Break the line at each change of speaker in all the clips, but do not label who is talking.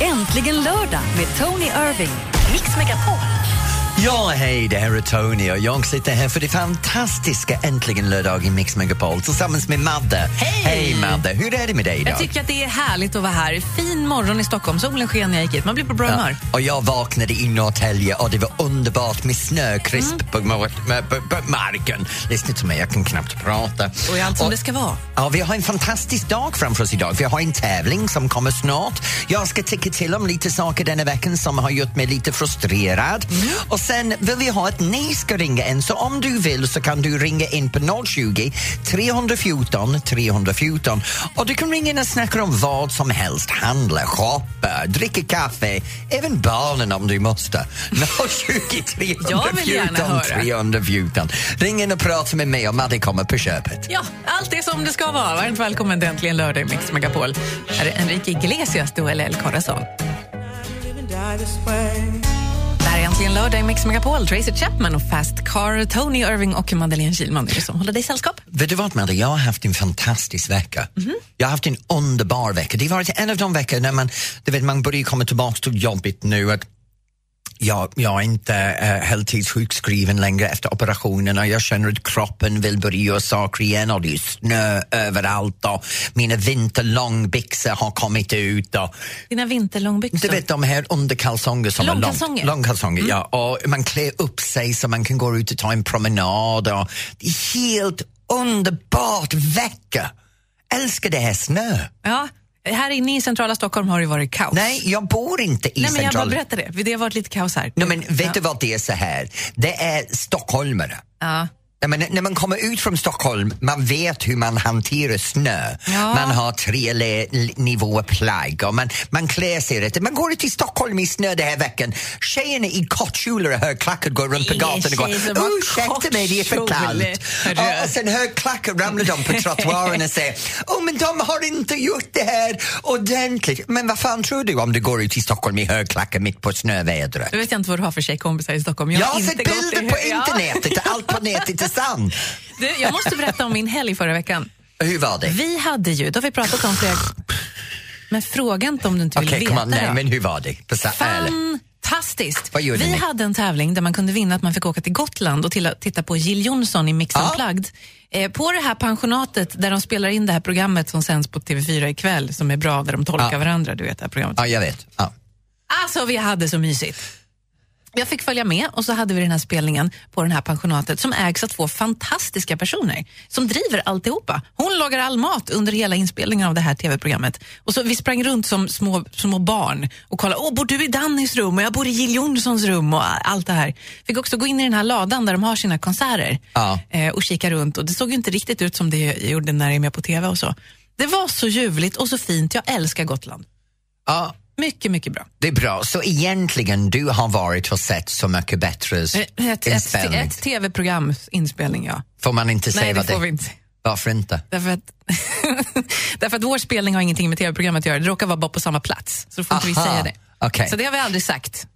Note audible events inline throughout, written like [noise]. Äntligen lördag med Tony Irving. Mix Megapol.
Ja, hej, det här är Tony och jag sitter här för det fantastiska Äntligen lördag i Mix Megapol tillsammans med Madde.
Hej!
Hej Madde, hur är det med dig idag?
Jag tycker att det är härligt att vara här. Fin morgon i Stockholm. Solen sken när jag gick hit. Man blir på bra humör.
Och jag vaknade i Norrtälje och det var underbart med snökrisp
Mm.
på, ma- på, på, på marken. Lyssna till mig, jag kan knappt prata.
Och är allt som det ska vara.
Ja, vi har en fantastisk dag framför oss idag. Vi har en tävling som kommer snart. Jag ska tycka till om lite saker denna veckan som har gjort mig lite frustrerad.
Mm.
Och sen vill vi ha att ni ska ringa in, så om du vill så kan du ringa in på 020 314 314 och du kan ringa in och snacka om vad som helst. Handla, shoppa, dricka kaffe, även barnen om
[laughs]
du måste. 020
Jag vill gärna
314
höra.
314. Ring in och prata med mig och Madde kommer på köpet.
Ja, allt är som det ska vara. Varmt välkommen till Äntligen lördag i Mix Megapol. Här är Enrique Iglesias duell El Corazon. Det här är Äntligen lördag i Mix Megapol. Tracy Chapman och Fast Car, Tony Irving och Madeleine Kilman är det som håller dig sällskap.
Vet du vad, Madde? Jag har haft en fantastisk vecka. Jag har haft en underbar vecka. Det har varit en av de veckor när man, du vet, man börjar komma tillbaka till jobbet nu. Att jag, jag är inte eh, heltidssjukskriven längre efter operationen och jag känner att kroppen vill börja göra saker igen och det är snö överallt och mina vinterlångbyxor har kommit ut. Och,
Dina vinterlångbyxor.
du vet de här underkalsonger som
Långkalsonger? Mm.
är lång, långkalsonger, ja. Och man klär upp sig så man kan gå ut och ta en promenad. Och det är helt underbart vecka! Älskar det här snö.
Ja, här inne i centrala Stockholm har det varit kaos.
Nej, jag bor inte i
Nej men jag bara
centrala...
berättar det. Det har varit lite kaos här.
Nej, men vet
ja.
du vad det är så här? Det är stockholmare.
Ja.
Nej, men när man kommer ut från Stockholm, man vet hur man hanterar snö.
Ja.
Man har tre le- l- nivåer plagg och man, man klär sig rätt. Man går ut i Stockholm i snö den här veckan. Tjejerna i kortkjolar och högklackar går runt på
Ingen
gatan och går
tjej som har
ursäkta mig, det är för
kortkjol,
kallt.
hörru.
Ja, och sen högklackar ramlar de på trottoaren och säger oh, men de har inte gjort det här ordentligt. Men vad fan tror du om du går ut i Stockholm i högklackar mitt på snövädret?
Nu vet jag inte vad du har för tjejkompisar i Stockholm.
Jag har
inte
sett
gått i
bilder på
hö- Ja.
internetet, allt på nätet är sant.
Du, jag måste berätta om min helg förra veckan.
[laughs] Hur var det?
Vi hade ju, det har vi pratat om flera men fråga inte om du inte vill
Okej,
veta.
kom on, nej
då.
men hur var det? På så- ärligt.
Fantastiskt!
Vad gjorde
vi
ni?
hade en tävling där man kunde vinna att man fick åka till Gotland och till, titta på Jill Johnson i Mix
Ja.
Unplugged. Eh, på det här pensionatet där de spelar in det här programmet som sänds på TV4 ikväll som är bra, där de tolkar
Ja.
varandra. Du vet det här programmet.
Ja, jag vet. Ja.
Alltså vi hade så mysigt. Jag fick följa med och så hade vi den här spelningen på det här pensionatet som ägs av två fantastiska personer som driver alltihopa. Hon lagar all mat under hela inspelningen av det här tv-programmet. Och så Vi sprang runt som små, små barn och kollade. Åh, bor du i Dannys rum? Och jag bor i Jill Johnssons rum och allt det här. Fick också gå in i den här ladan där de har sina konserter
Ja.
eh, och kika runt. Och Det såg ju inte riktigt ut som det gjorde när jag är med på tv och så. Det var så ljuvligt och så fint. Jag älskar Gotland.
ja,
Mycket, mycket bra.
det är bra. Så egentligen, du har varit och sett Så mycket bättre s-
Eh, Ett, ett, ett,
inspelning.
ett tv-programs inspelning, ja.
Får man inte säga
Nej, det
vad det
får vi
är?
inte.
Varför inte?
Därför att, [laughs] därför att vår spelning har ingenting med tv-programmet att göra. Det råkar vara bara på samma plats. Så då får inte vi
Aha,
säga det.
okej.
Så det har vi aldrig sagt.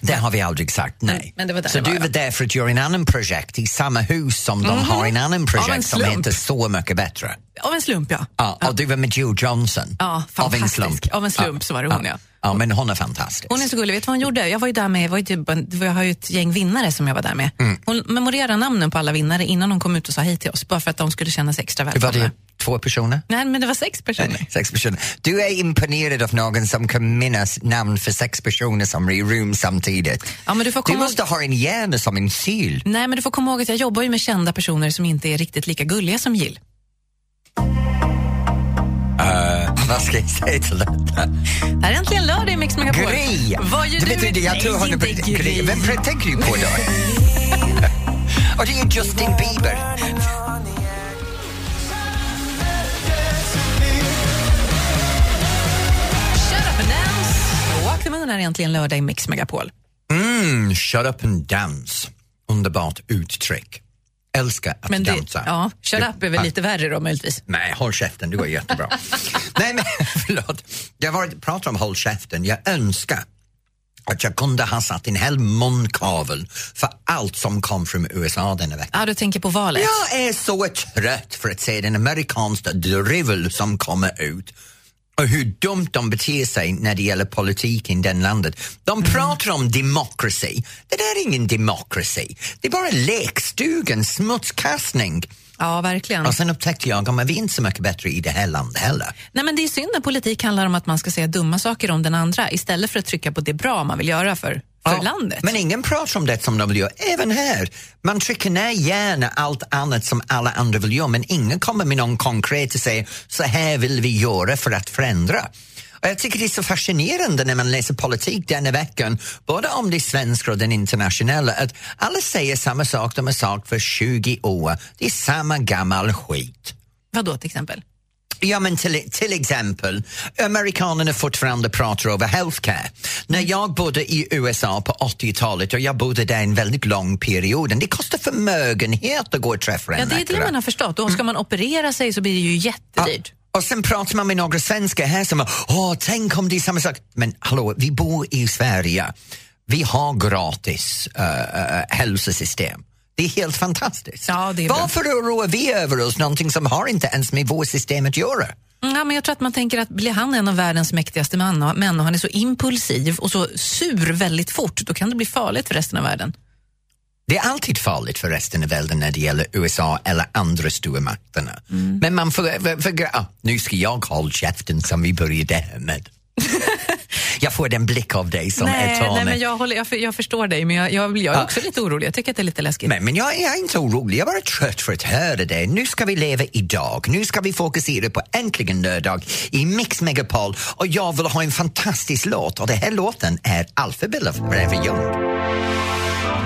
Det har vi aldrig sagt, nej.
Mm, men det var där
så
det var,
du var
ja.
där för att göra en annan projekt i samma hus som de har en annan projekt
Av en
som
slump.
heter Så mycket bättre.
Av en slump, ja.
Ja, och du var med Jill Johnson.
Ja,
av en
fantastisk.
slump.
Av en slump så var det hon, ja.
Ja, men hon är fantastisk.
Hon är så gullig. Vet du vad hon gjorde? Jag var ju där med, jag, var ju typ, en- det var- jag har ju ett gäng vinnare som jag var där med.
Mm.
Hon memorerade namnen på alla vinnare innan de kom ut och sa hej till oss. Bara för att de skulle känna sig extra
Hur
välkomna.
var det? Två personer?
Nej, men det var sex personer.
Sex personer. Du är imponerad av någon som kan minnas namn för sex personer som är i rum samtidigt.
Ja, men du får
Du
komma
måste ha en hjärna som en syl. [laughs]
Nej, men du får komma ihåg att jag jobbar ju med kända personer som inte är riktigt lika gulliga som Jill.
Vad ska jag säga till detta?
Det här är äntligen lördag i Mix Megapol.
Gry!
Vad gör du?
vet inte, jag
Nej,
tror hon är
inte
pre- Gry. Vem pre- tänker
[laughs]
du på då? Och det är Justin Bieber.
Shut up and dance! Walk the moon är äntligen lördag i Mix Megapol.
Mm, shut up and dance. Underbart uttryck. Älskar att
Men det,
dansa.
ja, shut
Det-
up är väl lite värre då möjligtvis.
Nej, håll käften, det går jättebra. Nej, men [laughs] förlåt. Jag var, pratar om håll käften, jag önskar att jag kunde ha satt en hel munkavel för allt som kom från USA denna vecka.
Ja, du tänker på valet.
Jag är så trött för att se den amerikanska drivel som kommer ut. och hur dumt de beter sig när det gäller politiken i den landet. De pratar om demokrati. Det där är ingen demokrati. Det är bara lekstugan, smutskastning.
Ja, verkligen.
Och sen upptäckte jag att vi är inte så mycket bättre i det här landet heller.
Nej, men det är synd när politik handlar om att man ska säga dumma saker om den andra istället för att trycka på det bra man vill göra för, för
Ja,
landet.
Men ingen pratar om det som de vill göra. Även här. Man trycker ner gärna allt annat som alla andra vill göra men ingen kommer med någon konkret och säger så här vill vi göra för att förändra. Och jag tycker det är så fascinerande när man läser politik denna veckan, både om det svenska och den internationella, att alla säger samma sak de har sagt för 20 år. Det är samma gammal skit.
Vadå till exempel?
Ja, men till, till exempel, amerikanerna fortfarande pratar över healthcare.
Mm.
När jag bodde i USA på 80-talet och jag bodde där en väldigt lång period, det kostar förmögenhet att gå och träffa en
Ja, det är det
läkare.
man har förstått. Och
Mm.
ska man operera sig så blir det ju jättedyrt.
Och sen pratar man med några svenskar här som åh, tänk om det är samma sak. Men hallå, vi bor i Sverige. Vi har gratis uh, hälsosystem. Det är helt fantastiskt.
Ja, det är bra.
Varför oroar vi över oss någonting som har inte ens med vårt system att göra?
Mm, Ja, men jag tror att man tänker att blir han en av världens mäktigaste man och, män och han är så impulsiv och så sur väldigt fort, då kan det bli farligt för resten av världen.
Det är alltid farligt för resten av världen när det gäller USA eller andra stormakterna.
Mm.
Men man får... för- för- ah, nu ska jag hålla käften som vi började
[laughs]
här med. jag får den blick av dig som är
nej, nej,
tanig.
men jag, håller, jag, för- jag förstår dig, men jag, jag, jag är också lite orolig. Jag tycker att det är lite läskigt.
Men, men jag är inte orolig, jag är bara trött för att höra det. Nu ska vi leva idag, nu ska vi fokusera på äntligen lördag i Mix Megapol och jag vill ha en fantastisk låt och den här låten är Alphabill av Forever Young.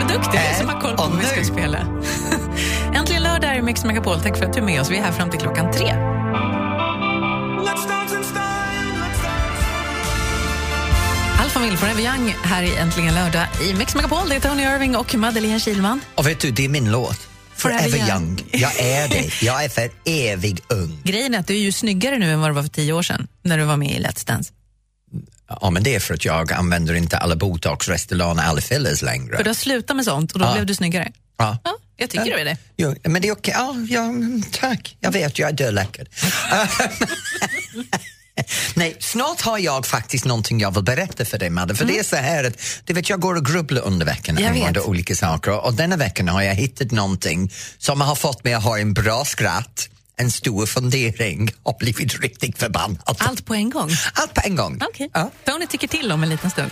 Vad duktig du är som har koll på
Äh,
vad vi ska
och nu.
spela. [laughs] Äntligen lördag är Mix Megapol. Tack för att du är med oss. Vi är här fram till klockan tre. Alfa Mill Forever Young här i Äntligen lördag i Mix Megapol. Det är Tony Irving och Madeleine Kilman.
Och vet du, det är min låt.
Forever
Forever,
young.
young. Jag är det. Jag är för evig ung.
Grejen är att du är ju snyggare nu än vad du var för tio år sedan när du var med i Let's Dance.
Ja, men det är för att jag använder inte alla botox, Restylane och alla fillers längre.
För du har slutat med sånt och då blev du snyggare.
Ja.
Ja, jag tycker du är det.
Jo, men det är okej. Ja, ja, mm, tack. Jag vet, jag är dödläckad. [laughs] Nej, snart har jag faktiskt någonting jag vill berätta för dig, Madde. För det är så här att du vet, jag går och grubblar under veckan
Mm. Jag
angående
vet.
olika saker. Och denna veckan har jag hittat någonting som har fått mig att ha en bra skratt, en stor fundering [laughs] och blivit riktigt förbannad.
Allt på en gång.
Allt på en gång.
Okej.
Ja.
Tony tycker till om en liten stund.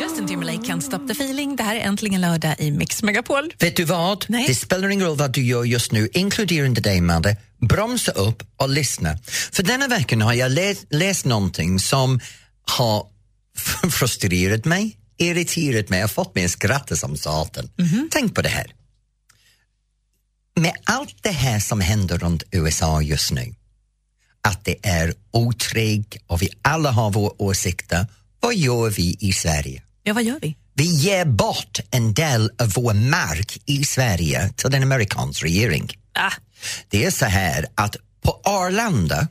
Justin Timberlake kan stop the feeling. Det här är äntligen lördag i Mix Megapol.
Vet du vad?
Nej.
Det spelar ingen roll vad du gör just nu, inkluderande dig Madde. Bromsa upp och lyssna. För denna veckan har jag lä- läst någonting som har [laughs] frustrerat mig, irriterat mig och fått mig att skratta som satan. Tänk på det här. Med allt det här som händer runt USA just nu, att det är otryggt och vi alla har våra åsikter, vad gör vi i Sverige?
Ja, vad gör vi?
Vi ger bort en del av vår mark i Sverige till den amerikanska regeringen.
Ah,
Det är så här att på Arlanda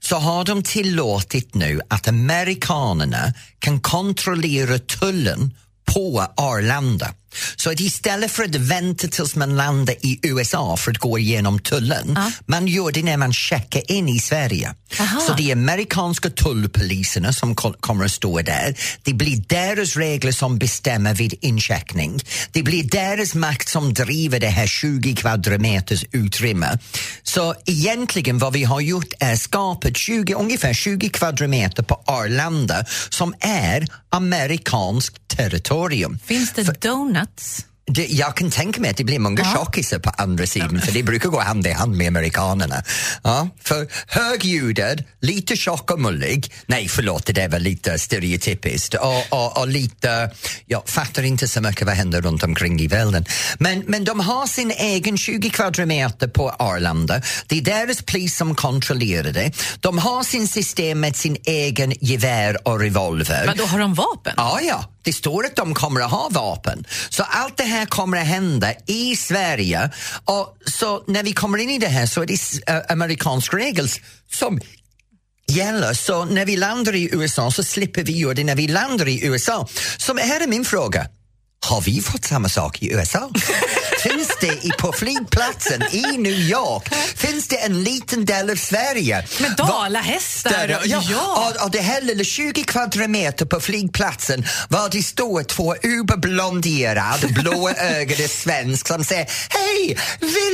så har de tillåtit nu att amerikanerna kan kontrollera tullen på Arlanda. Så att istället för att vänta tills man landar i USA för att gå igenom tullen, man gör det när man checkar in i Sverige.
Aha.
Så det är amerikanska tullpoliserna som ko- kommer att stå där. Det blir deras regler som bestämmer vid incheckning. Det blir deras makt som driver det här 20 kvadratmeters utrymme. Så egentligen vad vi har gjort är skapat 20, ungefär 20 kvadratmeter på Arlanda som är amerikanskt territorium.
finns det donuts?
Det, jag kan tänka mig att det blir många tjockisar på andra sidan för det brukar gå hand i hand med amerikanerna. Ja, för högljuddad, lite tjock och mullig, nej förlåt det där var lite stereotypiskt och, och, och lite, jag fattar inte så mycket vad händer runt omkring i världen. Men, men de har sin egen 20 kvadratmeter på Arlanda, det är deras polis som kontrollerar det. De har sin system med sin egen gevär och revolver.
Men då har de vapen?
Äh. Ja, ja. Det står att de kommer att ha vapen. Så allt det här kommer att hända i Sverige. Och så när vi kommer in i det här så är det s- eh, amerikansk regel som gäller. Så när vi landar i USA så slipper vi göra det när vi landar i USA. Så här är min fråga. har vi fått samma sak i USA? Finns det i, på flygplatsen i New York, finns det en liten del av Sverige?
Med dalahästar
Där,
och-
ja.
ja.
Och, och det här lilla 20 kvadratmeter på flygplatsen var det står två uberblonderad, blåögade svensk som säger Hej!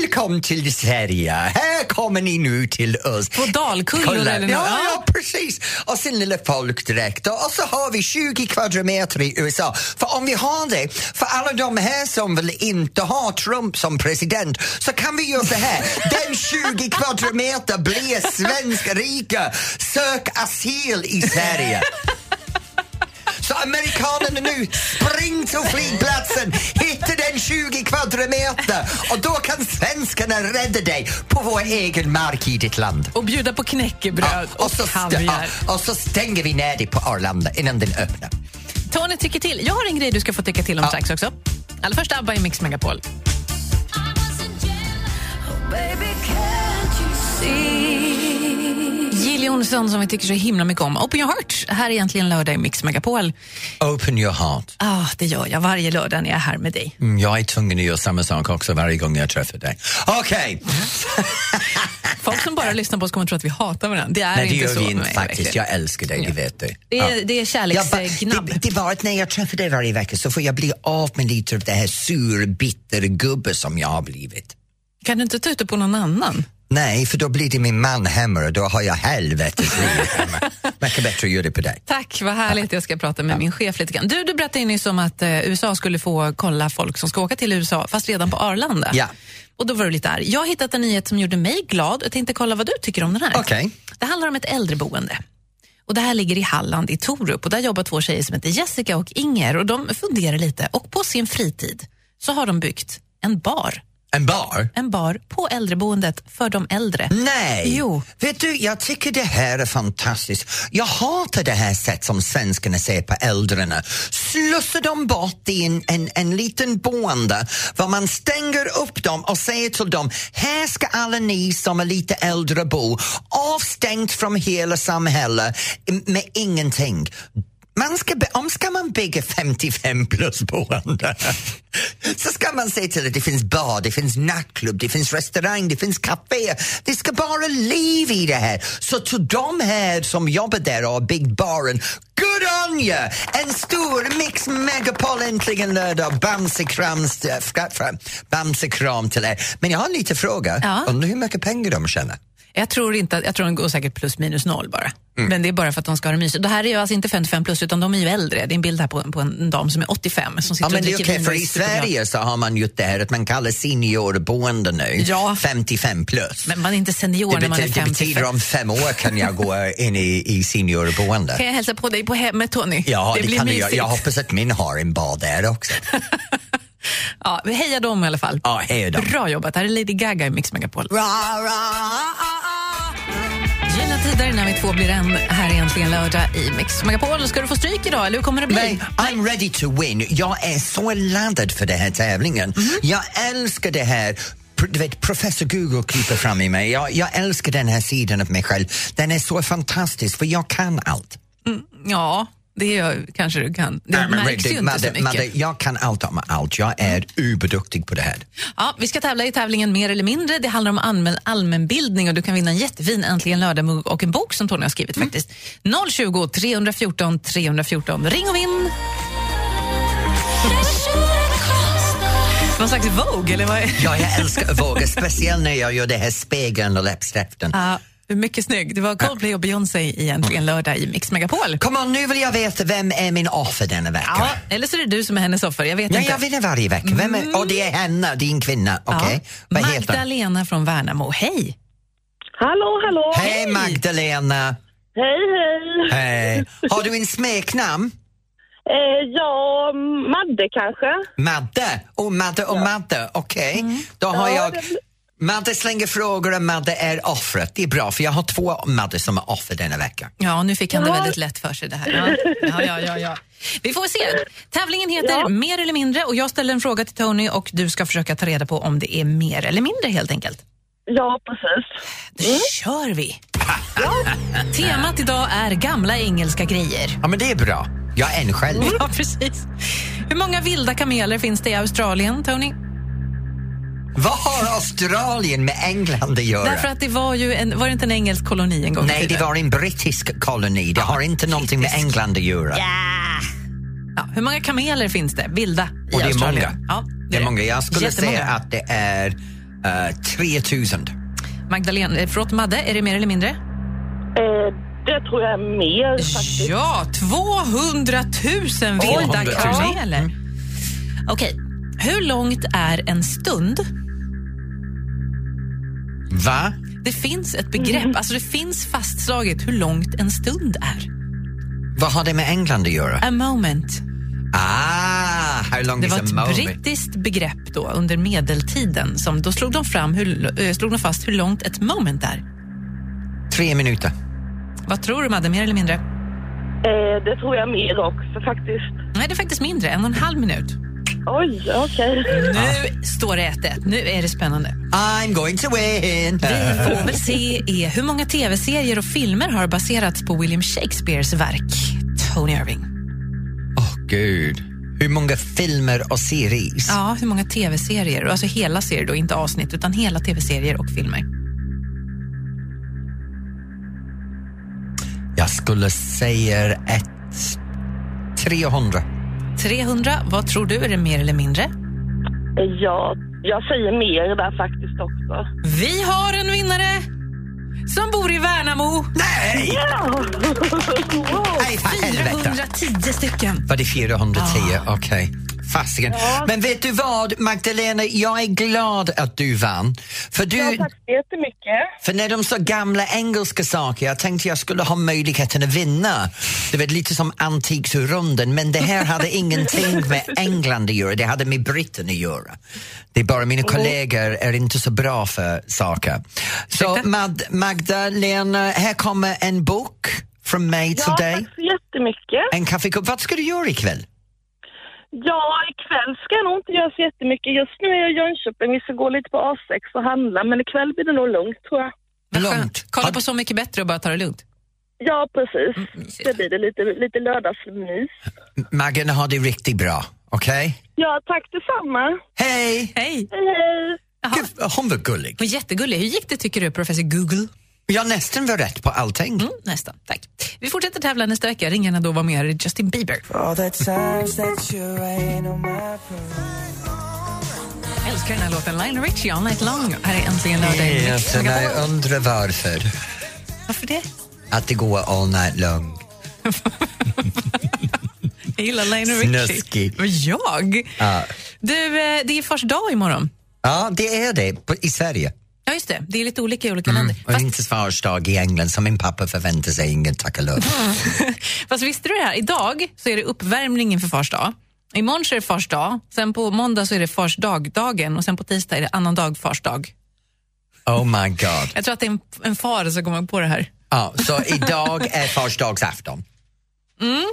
Välkommen till Sverige! Här kommer ni nu till oss.
På dalkullor
Kolla.
eller något.
ja,
Ja.
ja, precis. Och sin lilla folkdräkt. Och och så har vi 20 kvadratmeter i USA. För om vi har det, för alla de här som vill inte ha Trump som president, så kan vi göra så här. Den 20 kvadratmeter blir svensk rika. Sök asyl i Sverige. Så amerikanerna nu, spring till flygplatsen, hitta den 20 kvadratmeter och då kan svenskarna rädda dig på vår egen mark i ditt land.
Och bjuda på knäckebröd
Ja,
och,
så st-
kaviar.
ja, och så stänger vi ner det på Arlanda innan den öppnar.
Tony tycker till. Jag har en grej du ska få tycka till om
Ja.
strax också. Allra först ABBA i Mix Megapol. Jill Johnson som vi tycker så himla mycket om. Open your heart. Här är egentligen lördag i Mix Megapol.
Open your heart.
Ah, det gör jag varje lördag när jag är här med dig.
Mm, jag är tvungen att göra samma sak också varje gång jag träffar dig. Okej,
Folk som bara lyssnar på oss kommer tro att vi hatar varandra. Det är
nej det
inte
gör
så.
vi inte
Nej,
faktiskt.
verkligen.
Jag älskar dig, du vet det.
Det är,
Ja.
det är
Jag ba-
kärleksgnabb.
det, det var att när jag träffar dig varje vecka så får jag bli av med lite av det här surbitter-gubbe som jag har blivit.
Kan du inte ta ut det på någon annan?
Nej, för då blir det min man hemma och då har jag helvetes liv hemma. Mycket bättre att göra det på dig.
Tack, vad härligt. Jag ska prata med min chef lite grann. Du, du berättade ju nyss om att eh, USA skulle få kolla folk som ska åka till USA, fast redan på Arlanda.
Ja.
Och då var du lite arg. Jag har hittat en nyhet som gjorde mig glad. Jag tänkte kolla vad du tycker om den här.
Okej.
Det handlar om ett äldreboende. Och Det här ligger i Halland, i Torup. Och där jobbar två tjejer som heter Jessica och Inger. Och De funderar lite. Och På sin fritid så har de byggt en bar.
En bar?
En bar på äldreboendet för de äldre.
Mm. Nej!
Jo.
Vet du, jag tycker det här är fantastiskt. Jag hatar det här sätt som svenskarna ser på äldrena. Slussar dem bort i en, en, en liten boende var man stänger upp dem och säger till dem, här ska alla ni som är lite äldre bo, avstängt från hela samhället i- med ingenting. Man ska, be- om ska man bygga 55 plus boende så ska man se till att det finns bar, det finns nattklubb, det finns restaurang, det finns café. Det ska bara liv i det här. Så till de här som jobbar där och har byggt baren, good on you! En stor Mix Megapol äntligen lördag. Bamsekram bamse kram till er. Men jag har en liten fråga.
Ja.
Undrar hur mycket pengar de tjänar?
Jag tror, inte, att- jag tror de går säkert plus minus noll bara.
Mm.
Men det är bara för att de ska ha det mysigt. Det här är ju alltså inte 55 plus, utan de är ju äldre. Det är en bild här på, på en dam som är 85 som sitter
Ja, men
och
det är
dricker
okej,
vin
för
och
i
sitter och-
Sverige så har man gjort det här att man kallar seniorboende nu
Ja.
55 plus.
Men man är inte senior
Det,
när man är
bety- det
55.
betyder om fem år kan jag gå in i, i seniorboende.
Kan jag hälsa på dig på hemmet, Tony?
Ja,
det,
det,
blir
kan du
mysigt.
göra. Jag hoppas att min har en bar där också.
Ja, vi hejar dem i alla fall.
Ja, hej då.
Bra jobbat. Här är Lady Gaga i Mix Megapol.
Ra, ra, ah, ah.
Gyllene tider när vi två blir en. Här är äntligen lördag i Mix Megapol. Ska du få stryk idag, eller hur kommer det bli?
Nej, I'm ready to win. Jag är så laddad för den här tävlingen.
Mm-hmm.
Jag älskar det här. Pr- Du vet, professor Google kryper fram i mig. Jag, jag älskar den här sidan av mig själv. Den är så fantastisk, för jag kan allt.
Ja, det gör, kanske du kan. Det
Nej, men
märks
Rick,
ju inte
Madde,
så mycket.
Madde, jag kan allt om allt. Jag är uberduktig på det här.
Ja, vi ska tävla i tävlingen Mer eller mindre. Det handlar om allmän, allmänbildning och du kan vinna en jättefin Äntligen lördag-mugg och en bok som Tony har skrivit faktiskt. 020 314 314. Ring och vinn! Någon slags Vogue eller vad är
Ja, jag älskar att våga, speciellt när jag gör det här spegeln och läppstiften.
Ja, mycket snygg. Det var Coldplay och Beyoncé i Äntligen lördag i Mix Megapol.
Kom on, nu vill jag veta vem är min offer denna vecka?
Ja, eller så är det du som är hennes offer. Jag vet
Ja,
inte.
jag vinner varje vecka. Vem är, och det är henne, din kvinna. Okej, vad heter hon?
Magdalena från Värnamo. Hej!
Hallå, hallå!
Hej Magdalena!
Hej, hej.
Hej. Har du en smeknamn?
Eh, ja, Madde kanske?
Madde? Oh, Madde och Madde, okej.
Mm.
Då har
Ja,
jag...
det blir-
Madde slänger frågor och Madde är offret. Det är bra, för jag har två Madde som är offer denna vecka.
Ja, nu fick han det väldigt lätt för sig det här. Ja, ja, ja, ja, ja. Vi får se. Tävlingen heter
Ja.
Mer eller mindre och jag ställer en fråga till Tony och du ska försöka ta reda på om det är mer eller mindre helt enkelt.
Ja, precis.
Då
Mm.
kör vi! Temat idag är gamla engelska grejer.
Mm. Ja, men det är bra. Ja, en själv.
Ja, precis. Hur många vilda kameler finns det i Australien, Tony?
Vad har Australien med England att göra?
Därför att det var ju en, var det inte en engelsk koloni en gång i
Nej, det
tiden?
var en brittisk koloni. Det har inte någonting med England att göra.
Ja, hur många kameler finns det, vilda, i
Och det är
Australien?
många.
Ja,
Det är många. Jag skulle
Jättemånga.
säga att det är eh, 3000.
Magdalena, eh, förlåt Madde, är det mer eller mindre?
Eh, det tror jag är mer faktiskt.
Ja, 200 000 vilda
200 000.
kameler. Mm. Okej, hur långt är en stund?
Va?
Det finns ett begrepp, alltså det finns fastslaget hur långt en stund är.
Vad har det med England att göra?
A moment.
Ah, how long
Det
is
var
a
ett
moment?
brittiskt begrepp då under medeltiden. Som, då slog de, fram hur, eh, slog de fast hur långt ett moment är.
Tre minuter.
Vad tror du Madde, mer eller mindre?
Eh, det tror jag är mer också faktiskt.
Nej, det är faktiskt mindre, en och en halv minut.
Oj, okej.
Nu står det 1-1, nu är det spännande.
I'm going to win!
Vi får väl se är hur många tv-serier och filmer har baserats på William Shakespeares verk Tony Irving.
Åh, gud. Hur många filmer och series?
Ja, hur många tv-serier, alltså hela serier då, inte avsnitt, utan hela tv-serier och filmer.
Jag skulle säga ett... 300.
300, vad tror du, är det mer eller mindre?
Eh, Ja, jag säger mer där faktiskt också.
Vi har en vinnare som bor i Värnamo.
Nej! Nej, för helvete!
410 stycken.
Var det 410?
Ah.
Okej. Fasiken. Men vet du vad, Magdalena, jag är glad att du vann. För, du,
[laughs] Tack så jättemycket.
för när de sa gamla engelska saker, jag tänkte jag skulle ha möjligheten att vinna. Det var lite som antiksrunden, men det här
[laughs]
hade ingenting med England att göra, det hade med Britten att göra. Det är bara mina
Mm.
kollegor är inte så bra för saker. Så Mad- Magdalena, här kommer en bok från mig
Ja,
till dig.
tack så jättemycket.
En kaffekopp. Vad ska du göra ikväll?
Ja, ikväll ska jag nog inte göra så jättemycket. Just nu är jag i Jönköping. Vi ska gå lite på A6 och handla, men ikväll blir det nog lugnt tror jag.
Vad
Långt.
skönt. Kolla på Så mycket bättre och bara ta det lugnt.
Ja, precis.
mysigt.
det blir det lite, lite lördagsmys.
Maggan har det riktigt bra, okej?
Ja, tack detsamma.
Hej!
Hej!
Hej, hej.
Jaha.
Gud, hon var gullig.
Vad Jättegullig. Hur gick det tycker du, professor Google?
Jag nästan var rätt på allting.
Mm, nästan, tack. Vi fortsätter tävla nästa vecka. Ring gärna då och var med er i Justin Bieber.
All the times that you rain on my parade.
Jag älskar den här låten. Lionel Richie, All Night Long. Här är äntligen lördag. i Mix
Egentligen,
Megapol.
alltså jag undrar varför.
Varför det?
Att det går all night long.
Jag gillar Lionel Richie.
Snuskig.
Och jag?
Ja.
Du, eh, det är fars dag imorgon.
Ja, det är det på, i Sverige.
Ja, just det. Det är lite olika i olika länder.
Och
Fast,
inte svarsdag i England, som min pappa förväntar sig. Ingen tack och lov.
[laughs] fast visste du det här? Idag så är det uppvärmning inför fars dag. Imorgon så är det fars dag. Sen på måndag så är det fars dag-dagen och sen på tisdag är det annan dag fars dag.
Oh my god.
Jag tror att det är en, en far som kommer på det här.
Ja, så idag är farsdagsafton.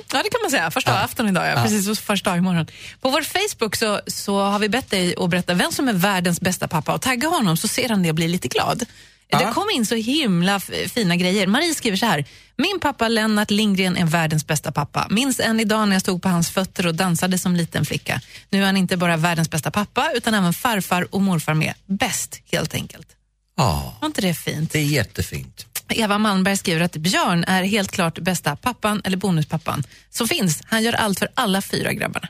Ja, det kan man säga. Första afton idag, ja. Precis, och första dag imorgon. På vår Facebook så, så har vi bett dig att berätta vem som är världens bästa pappa och tagga honom så ser han det och blir lite glad. Det kom in så himla f- fina grejer. Marie skriver så här. Min pappa Lennart Lindgren är världens bästa pappa. Minns än idag när jag stod på hans fötter och dansade som liten flicka. Nu är han inte bara världens bästa pappa utan även farfar och morfar med. Bäst, helt enkelt.
Ja,
Var inte det fint?
det är jättefint.
Eva Malmberg skriver att Björn är helt klart bästa pappan eller bonuspappan som finns. Han gör allt för alla fyra grabbarna.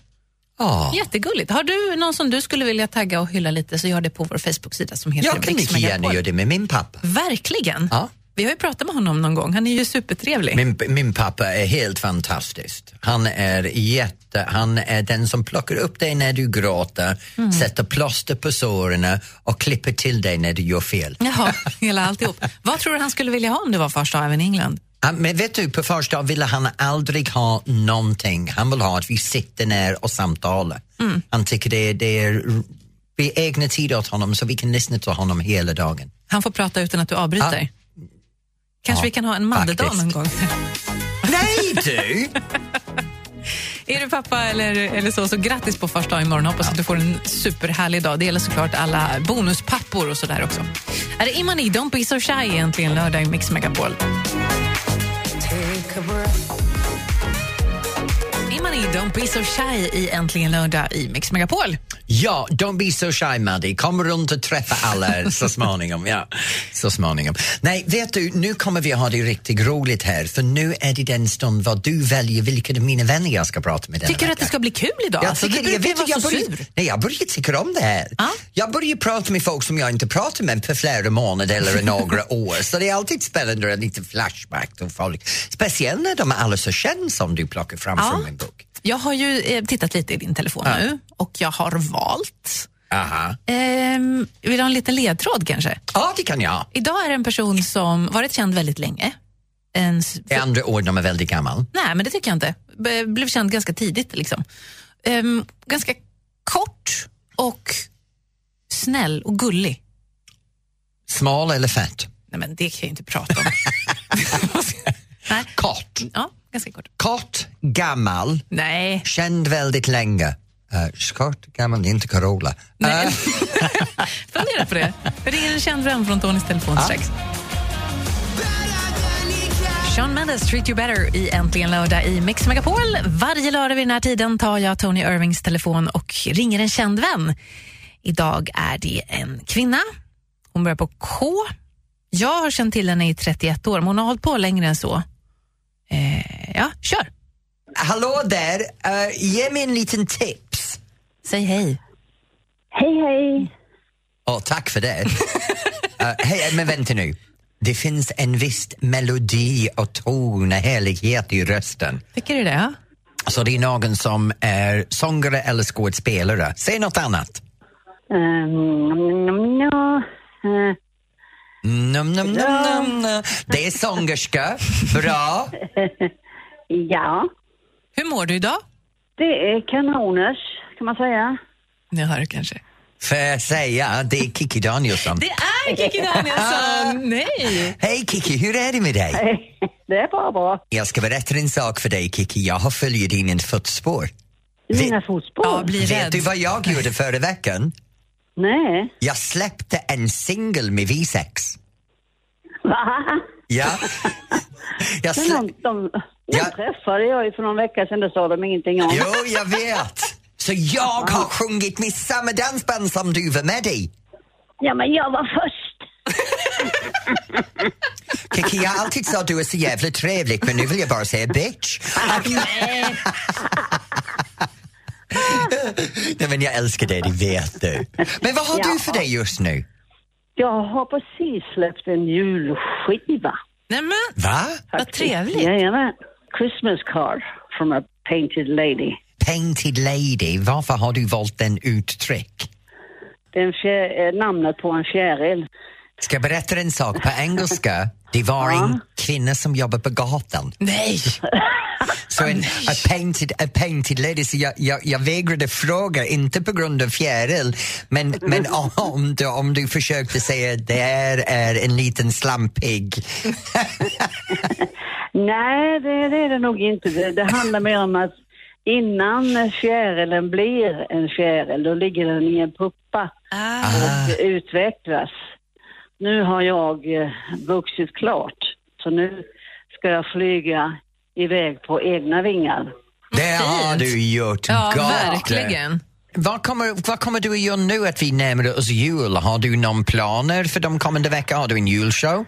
Ja.
Jättegulligt. Har du någon som du skulle vilja tagga och hylla lite så gör det på vår Facebook-sida som heter
Jag kan
Mix
mycket gärna
Megapol.
göra det med min pappa.
Verkligen.
Ja.
Vi har ju pratat med honom någon gång. Han är ju supertrevlig.
Min, min pappa är helt fantastisk. Han är jätte, han är den som plockar upp dig när du gråter, sätter plåster på såren och klipper till dig när du gör fel.
Jaha, [laughs] hela alltihop. Vad tror du han skulle vilja ha om det var första även i England?
Ah, Men vet du, på första ville han aldrig ha någonting. Han vill ha att vi sitter ner och samtalar. Han tycker det, det är vi har egna tid åt honom så vi kan lyssna till honom hela dagen.
Han får prata utan att du avbryter. Kanske
Ja,
vi kan ha en mandedag
faktiskt.
någon gång.
Nej du!
Är du pappa eller, eller så, så grattis på första dagen imorgon. Hoppas att du får en superhärlig dag. Det gäller såklart alla bonuspappor och sådär också. Är det Imani, Don't be so shy egentligen lördag i Mix Megapol. Maddy, Don't be so shy i Äntligen lördag i Mix Megapol.
Ja, don't be so shy Maddy. Kom runt och träffa
[laughs]
alla så småningom. Ja, så småningom. Nej, vet du, nu kommer vi ha det riktigt roligt här för nu är det den stund vad du väljer vilka av mina vänner jag ska prata med den
Tycker du att det ska bli kul idag?
jag,
Alltså,
tycker,
du
jag,
brukar
vet,
ju
jag,
vara så
börjar,
sur.
nej, jag börjar tycka om det här.
Ja.
Jag börjar prata med folk som jag inte pratat med på flera
[laughs]
månader eller några år. Så det är alltid spännande en liten flashback till folk. Speciellt när de är alla så kända som du plockar fram
Ja.
från min bok.
Jag har ju eh, tittat lite i din telefon nu och jag har valt.
Aha.
Ehm, vill du ha en liten ledtråd kanske?
Ja, det kan jag.
Idag är det en person som varit känd väldigt länge. En, s-
Det är andra ord när man är väldigt gammal.
nej, men det tycker jag inte. B- blev känd ganska tidigt. Liksom. Ehm, ganska kort och snäll och gullig.
Smal eller fett?
Nej, men det kan jag inte prata om. nej.
Kort.
Ja, ganska kort.
Kort, gammal,
Nej.
känd väldigt länge. Eh, kort, gammal, det är inte Carola. Eh,
Fundera på det. Vi ringer en känd vän från Tonys telefon strax. Sean Mendes, Treat You Better i Äntligen lördag i Mix Megapol. Varje lördag vid den här tiden tar jag Tony Irvings telefon och ringer en känd vän. Idag är det en kvinna. Hon börjar på K. Jag har känt till henne i 31 år, men hon har hållit på längre än så. Eh, ja, kör.
hallå där, Eh, ge mig en liten tips.
Säg hej.
Hej, hej.
Åh, tack för det. Eh, Hej, men vänta nu. Det finns en viss melodi och ton och härlighet i rösten.
Tycker du det? Ja?
Så det är någon som är sångare eller skådespelare. Säg något annat.
Um, nom, nom, eh,
Num, num, num, num, num. Det är sångerska. Bra.
ja,
Hur mår du idag?
det är kanoners, kan man säga. [laughs]
Ni hör kanske.
Får jag säga, det är Kiki Danielsson.
Det är Kikki Danielsson! Ah, Nej!
Hej Kiki, hur är det med dig?
Det är bara bra.
Jag ska berätta en sak för dig Kiki, jag har följt dina fotspår. Vi-
Mina fotspår?
Ja, bli
Vet
rädd.
du vad jag gjorde förra veckan?
Nej.
Jag släppte en singel med V6.
Va?
Ja. Jag
Men
slä...
de, de, de
Ja.
träffade jag ju för någon vecka sedan, det sa de ingenting om.
Jo, jag vet. Så jag har sjungit med samma dansband som du var med i.
Ja, men jag var först.
Kiki, jag har alltid sagt att du är så jävla trevlig men nu vill jag bara säga bitch. Nej men jag älskar dig, det vet du. Men vad har du för dig just nu?
Jag har precis släppt en julskiva.
Nej men,
Va?
vad trevligt.
Jajamän. Christmas card from a painted lady.
Painted Lady, varför har du valt den uttryck?
Det är en fjär, eh, namnet på en fjäril.
Ska jag berätta en sak på engelska? Det var en kvinna som jobbade på gatan.
Nej!
Så en a painted, a painted lady, så jag, jag, jag vägrade fråga, inte på grund av fjäril, men, men om, du, om du försökte säga det här är en liten slampig.
Nej, det, det är det nog inte. Det, det handlar mer om att innan fjärilen blir en fjäril, då ligger den i en puppa
[laughs]
Ah.
och utvecklas. Nu har jag eh, vuxit klart, så nu ska jag flyga iväg på egna vingar.
Det har du gjort,
Ja,
gott.
verkligen.
Vad kommer, vad kommer du att göra nu att vi närmar oss jul? Har du någon planer för de kommande veckorna? Har du en julshow?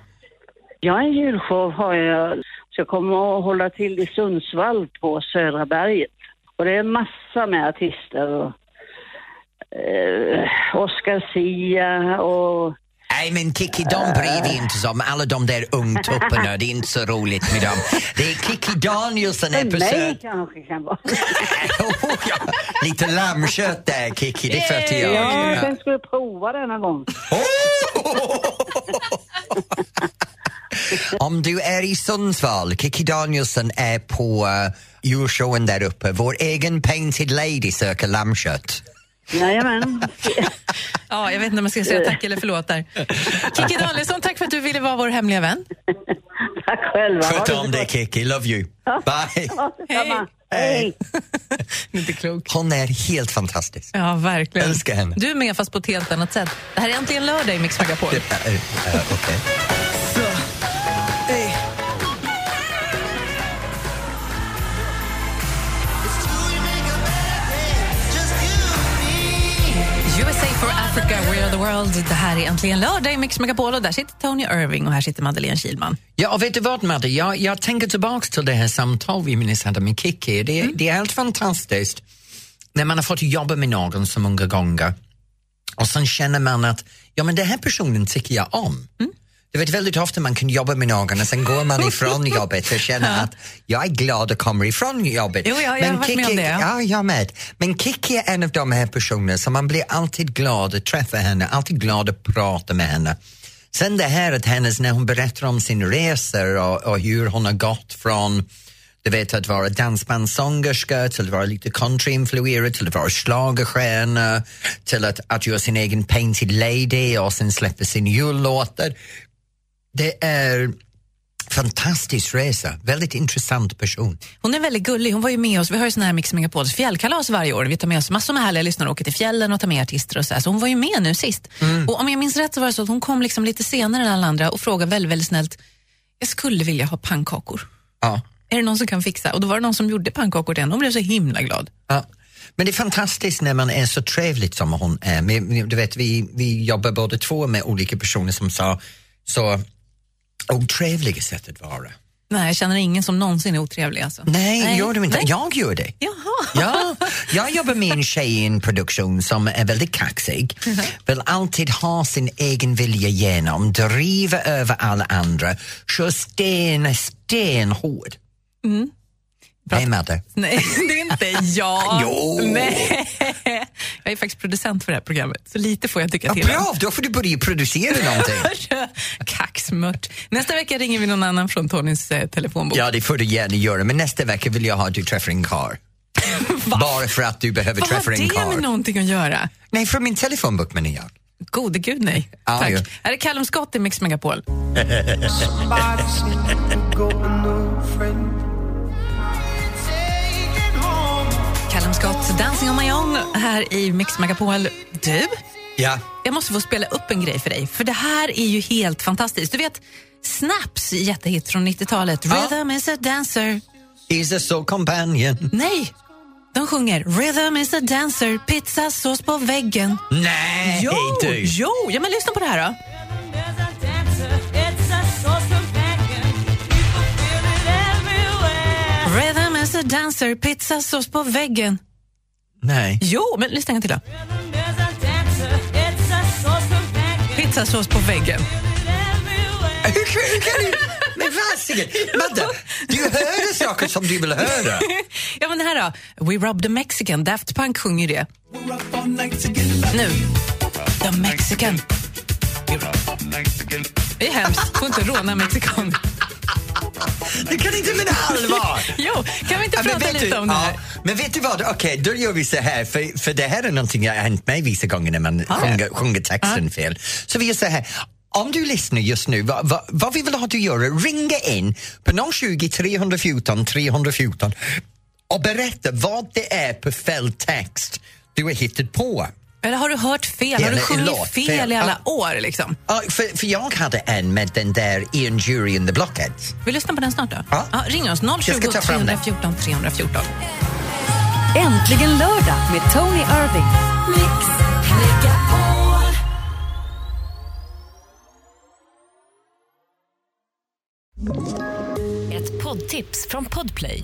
Ja, en julshow har jag. Så jag kommer att hålla till i Sundsvall på Södra berget. Och det är massa med artister. Och, eh, Oscar Sia och...
Nej men Kiki,
Eh.
de bryr vi inte som alla de där ungtupparna. Det är inte så roligt med dem. Det är Kiki Danielsson här på Söder.
Mig kanske kan vara.
Oh, ja. [laughs] Lite lammkött där Kiki, det fattar jag. [laughs]
Ja,
Ja.
den skulle jag prova denna gång.
Oh! [laughs] Om du är i Sundsvall, Kiki Danielsson är på uh, julshowen där uppe. Vår egen painted lady söker lammkött.
Jajamän.
Ja, jag vet inte om jag ska säga tack eller förlåt där.
[laughs]
Kikki Danielsson, tack för att du ville vara vår hemliga vän.
Tack själva. Ha
Sköt
det
om
så
dig
gott.
Kiki, love you. Bye.
Ja, detsamma.
Hej.
Hej.
Inte klok.
Hon är helt fantastisk.
Ja, verkligen.
Älskar henne.
Du är med fast på ett helt annat sätt. Det här är äntligen lördag i Mix Megapol.
Eh, eh, okej.
Hey.
For Africa, we are the world. Det här är äntligen lördag i Mix Megapol och där sitter Tony Irving och här sitter Madeleine Kilman.
Ja, och vet du vad Madde, jag, jag tänker tillbaka till det här samtal vi minns hade med Kiki. Det, det är helt fantastiskt när man har fått jobba med någon så många gånger och sen känner man att ja, men den här personen tycker jag om. Du vet väldigt ofta man kan jobba med någon och sen går man
[laughs]
ifrån jobbet och känner att jag är glad att komma ifrån jobbet.
Jo, ja, jag har varit med om det, ja.
Ja, jag med. Men Kiki är en av de här personerna som man blir alltid glad att träffa henne, alltid glad att prata med henne. Sen det här att hennes, när hon berättar om sin resor och, och hur hon har gått från du vet att vara dansbandssångerska till att vara lite countryinfluerad till att vara schlagerstjärna till att, att göra sin egen Painted Lady och sen släppa sin jullåtar. Det är fantastisk resa, väldigt intressant person.
Hon är väldigt gullig. Hon var ju med oss. Vi har ju sån här Mix Megapols fjällkalas varje år. Vi tar med oss massor med härliga lyssnare och åker till fjällen och tar med artister och så, här. så hon var ju med nu sist.
Mm.
Och om jag minns rätt så var det så att hon kom liksom lite senare än alla andra och frågade väldigt, väldigt snällt, jag skulle vilja ha pannkakor.
Ja.
Är det någon som kan fixa? Och då var det någon som gjorde pannkakor till henne. Hon blev så himla glad.
Ja. Men det är fantastiskt när man är så trevligt som hon är. Men, men, Du vet, vi, vi jobbar båda två med olika personer som sa så otrevliga sätt att vara.
Nej, jag känner ingen som någonsin är otrevlig alltså.
Nej,
Nej.
gör du inte.
Nej.
Jag gör det.
Jaha.
Ja, jag jobbar med en tjej i en produktion som är väldigt kaxig. Vill alltid ha sin egen vilja igenom, driva över alla andra, kör sten, stenhård. Mm. Vem är det?
Nej, det är inte jag.
[laughs] Jo.
Nej. Jag är faktiskt producent för det här programmet, så lite får jag tycka
Ja,
till. om.
bra, då får du börja producera någonting.
[laughs] Kaxmört. Nästa vecka ringer vi någon annan från Tonys eh, telefonbok.
Ja, det får du gärna göra, men nästa vecka vill jag ha att du träffar en karl. Bara för att du behöver
Vad
träffa
har
en
det med
karl.
någonting att göra?
Nej, från min telefonbok menar jag.
Gode gud, nej.
Ja,
Tack.
ju.
Här är Callum Scott i Mix Megapol.
Somebody's got a new friend. Take it home.
Callum Scott, Dancing on my own här i Mix Megapol. Du,
Ja.
jag måste få spela upp en grej för dig, för det här är ju helt fantastiskt. Du vet, Snaps jättehit från 90-talet.
Ja.
Rhythm is a dancer.
He's a soul companion.
Nej, de sjunger Rhythm is a dancer, pizzasås på väggen.
Nej,
Jo,
du!
jo, ja men lyssna på det här då. Rhythm is a dancer, pizzasås på väggen.
Nej.
Jo, men lyssna en gång till då. Pizzasås på väggen.
Hur kan- hur kan du... Men
[laughs]
fasiken! Madde, du hör saker som du vill höra.
ja, men det här då. We robbed the Mexican. Daft Punk sjunger ju det. Nu. The Mexican. Det är hemskt. Får inte råna mexikan.
Du kan inte mena allvar!
Jo, kan [laughs] vi inte
Ja, men
prata
vet
lite
du-
om det här?
ja, men vet du vad, okej då gör vi så här, för, för det här är någonting jag har hänt mig vissa gånger när man sjunger, sjunger texten fel. Så vi gör så här, om du lyssnar just nu, vad, vad, vad vi vill ha att du gör är ringa in på 020 314 314 och berätta vad det är på fel text du har hittat på.
Eller har du hört fel? Har
Eller
du
en
sjungit
låt,
fel
fel.
i alla
Ja.
år? Liksom?
Ja, för, för jag hade en med den där Ian Jury and the Blockheads.
Vi lyssnar på den snart då.
Ja.
ring oss 020
ska ta fram den.
314 314.
Äntligen lördag med Tony Irving.
Ett poddtips från Podplay.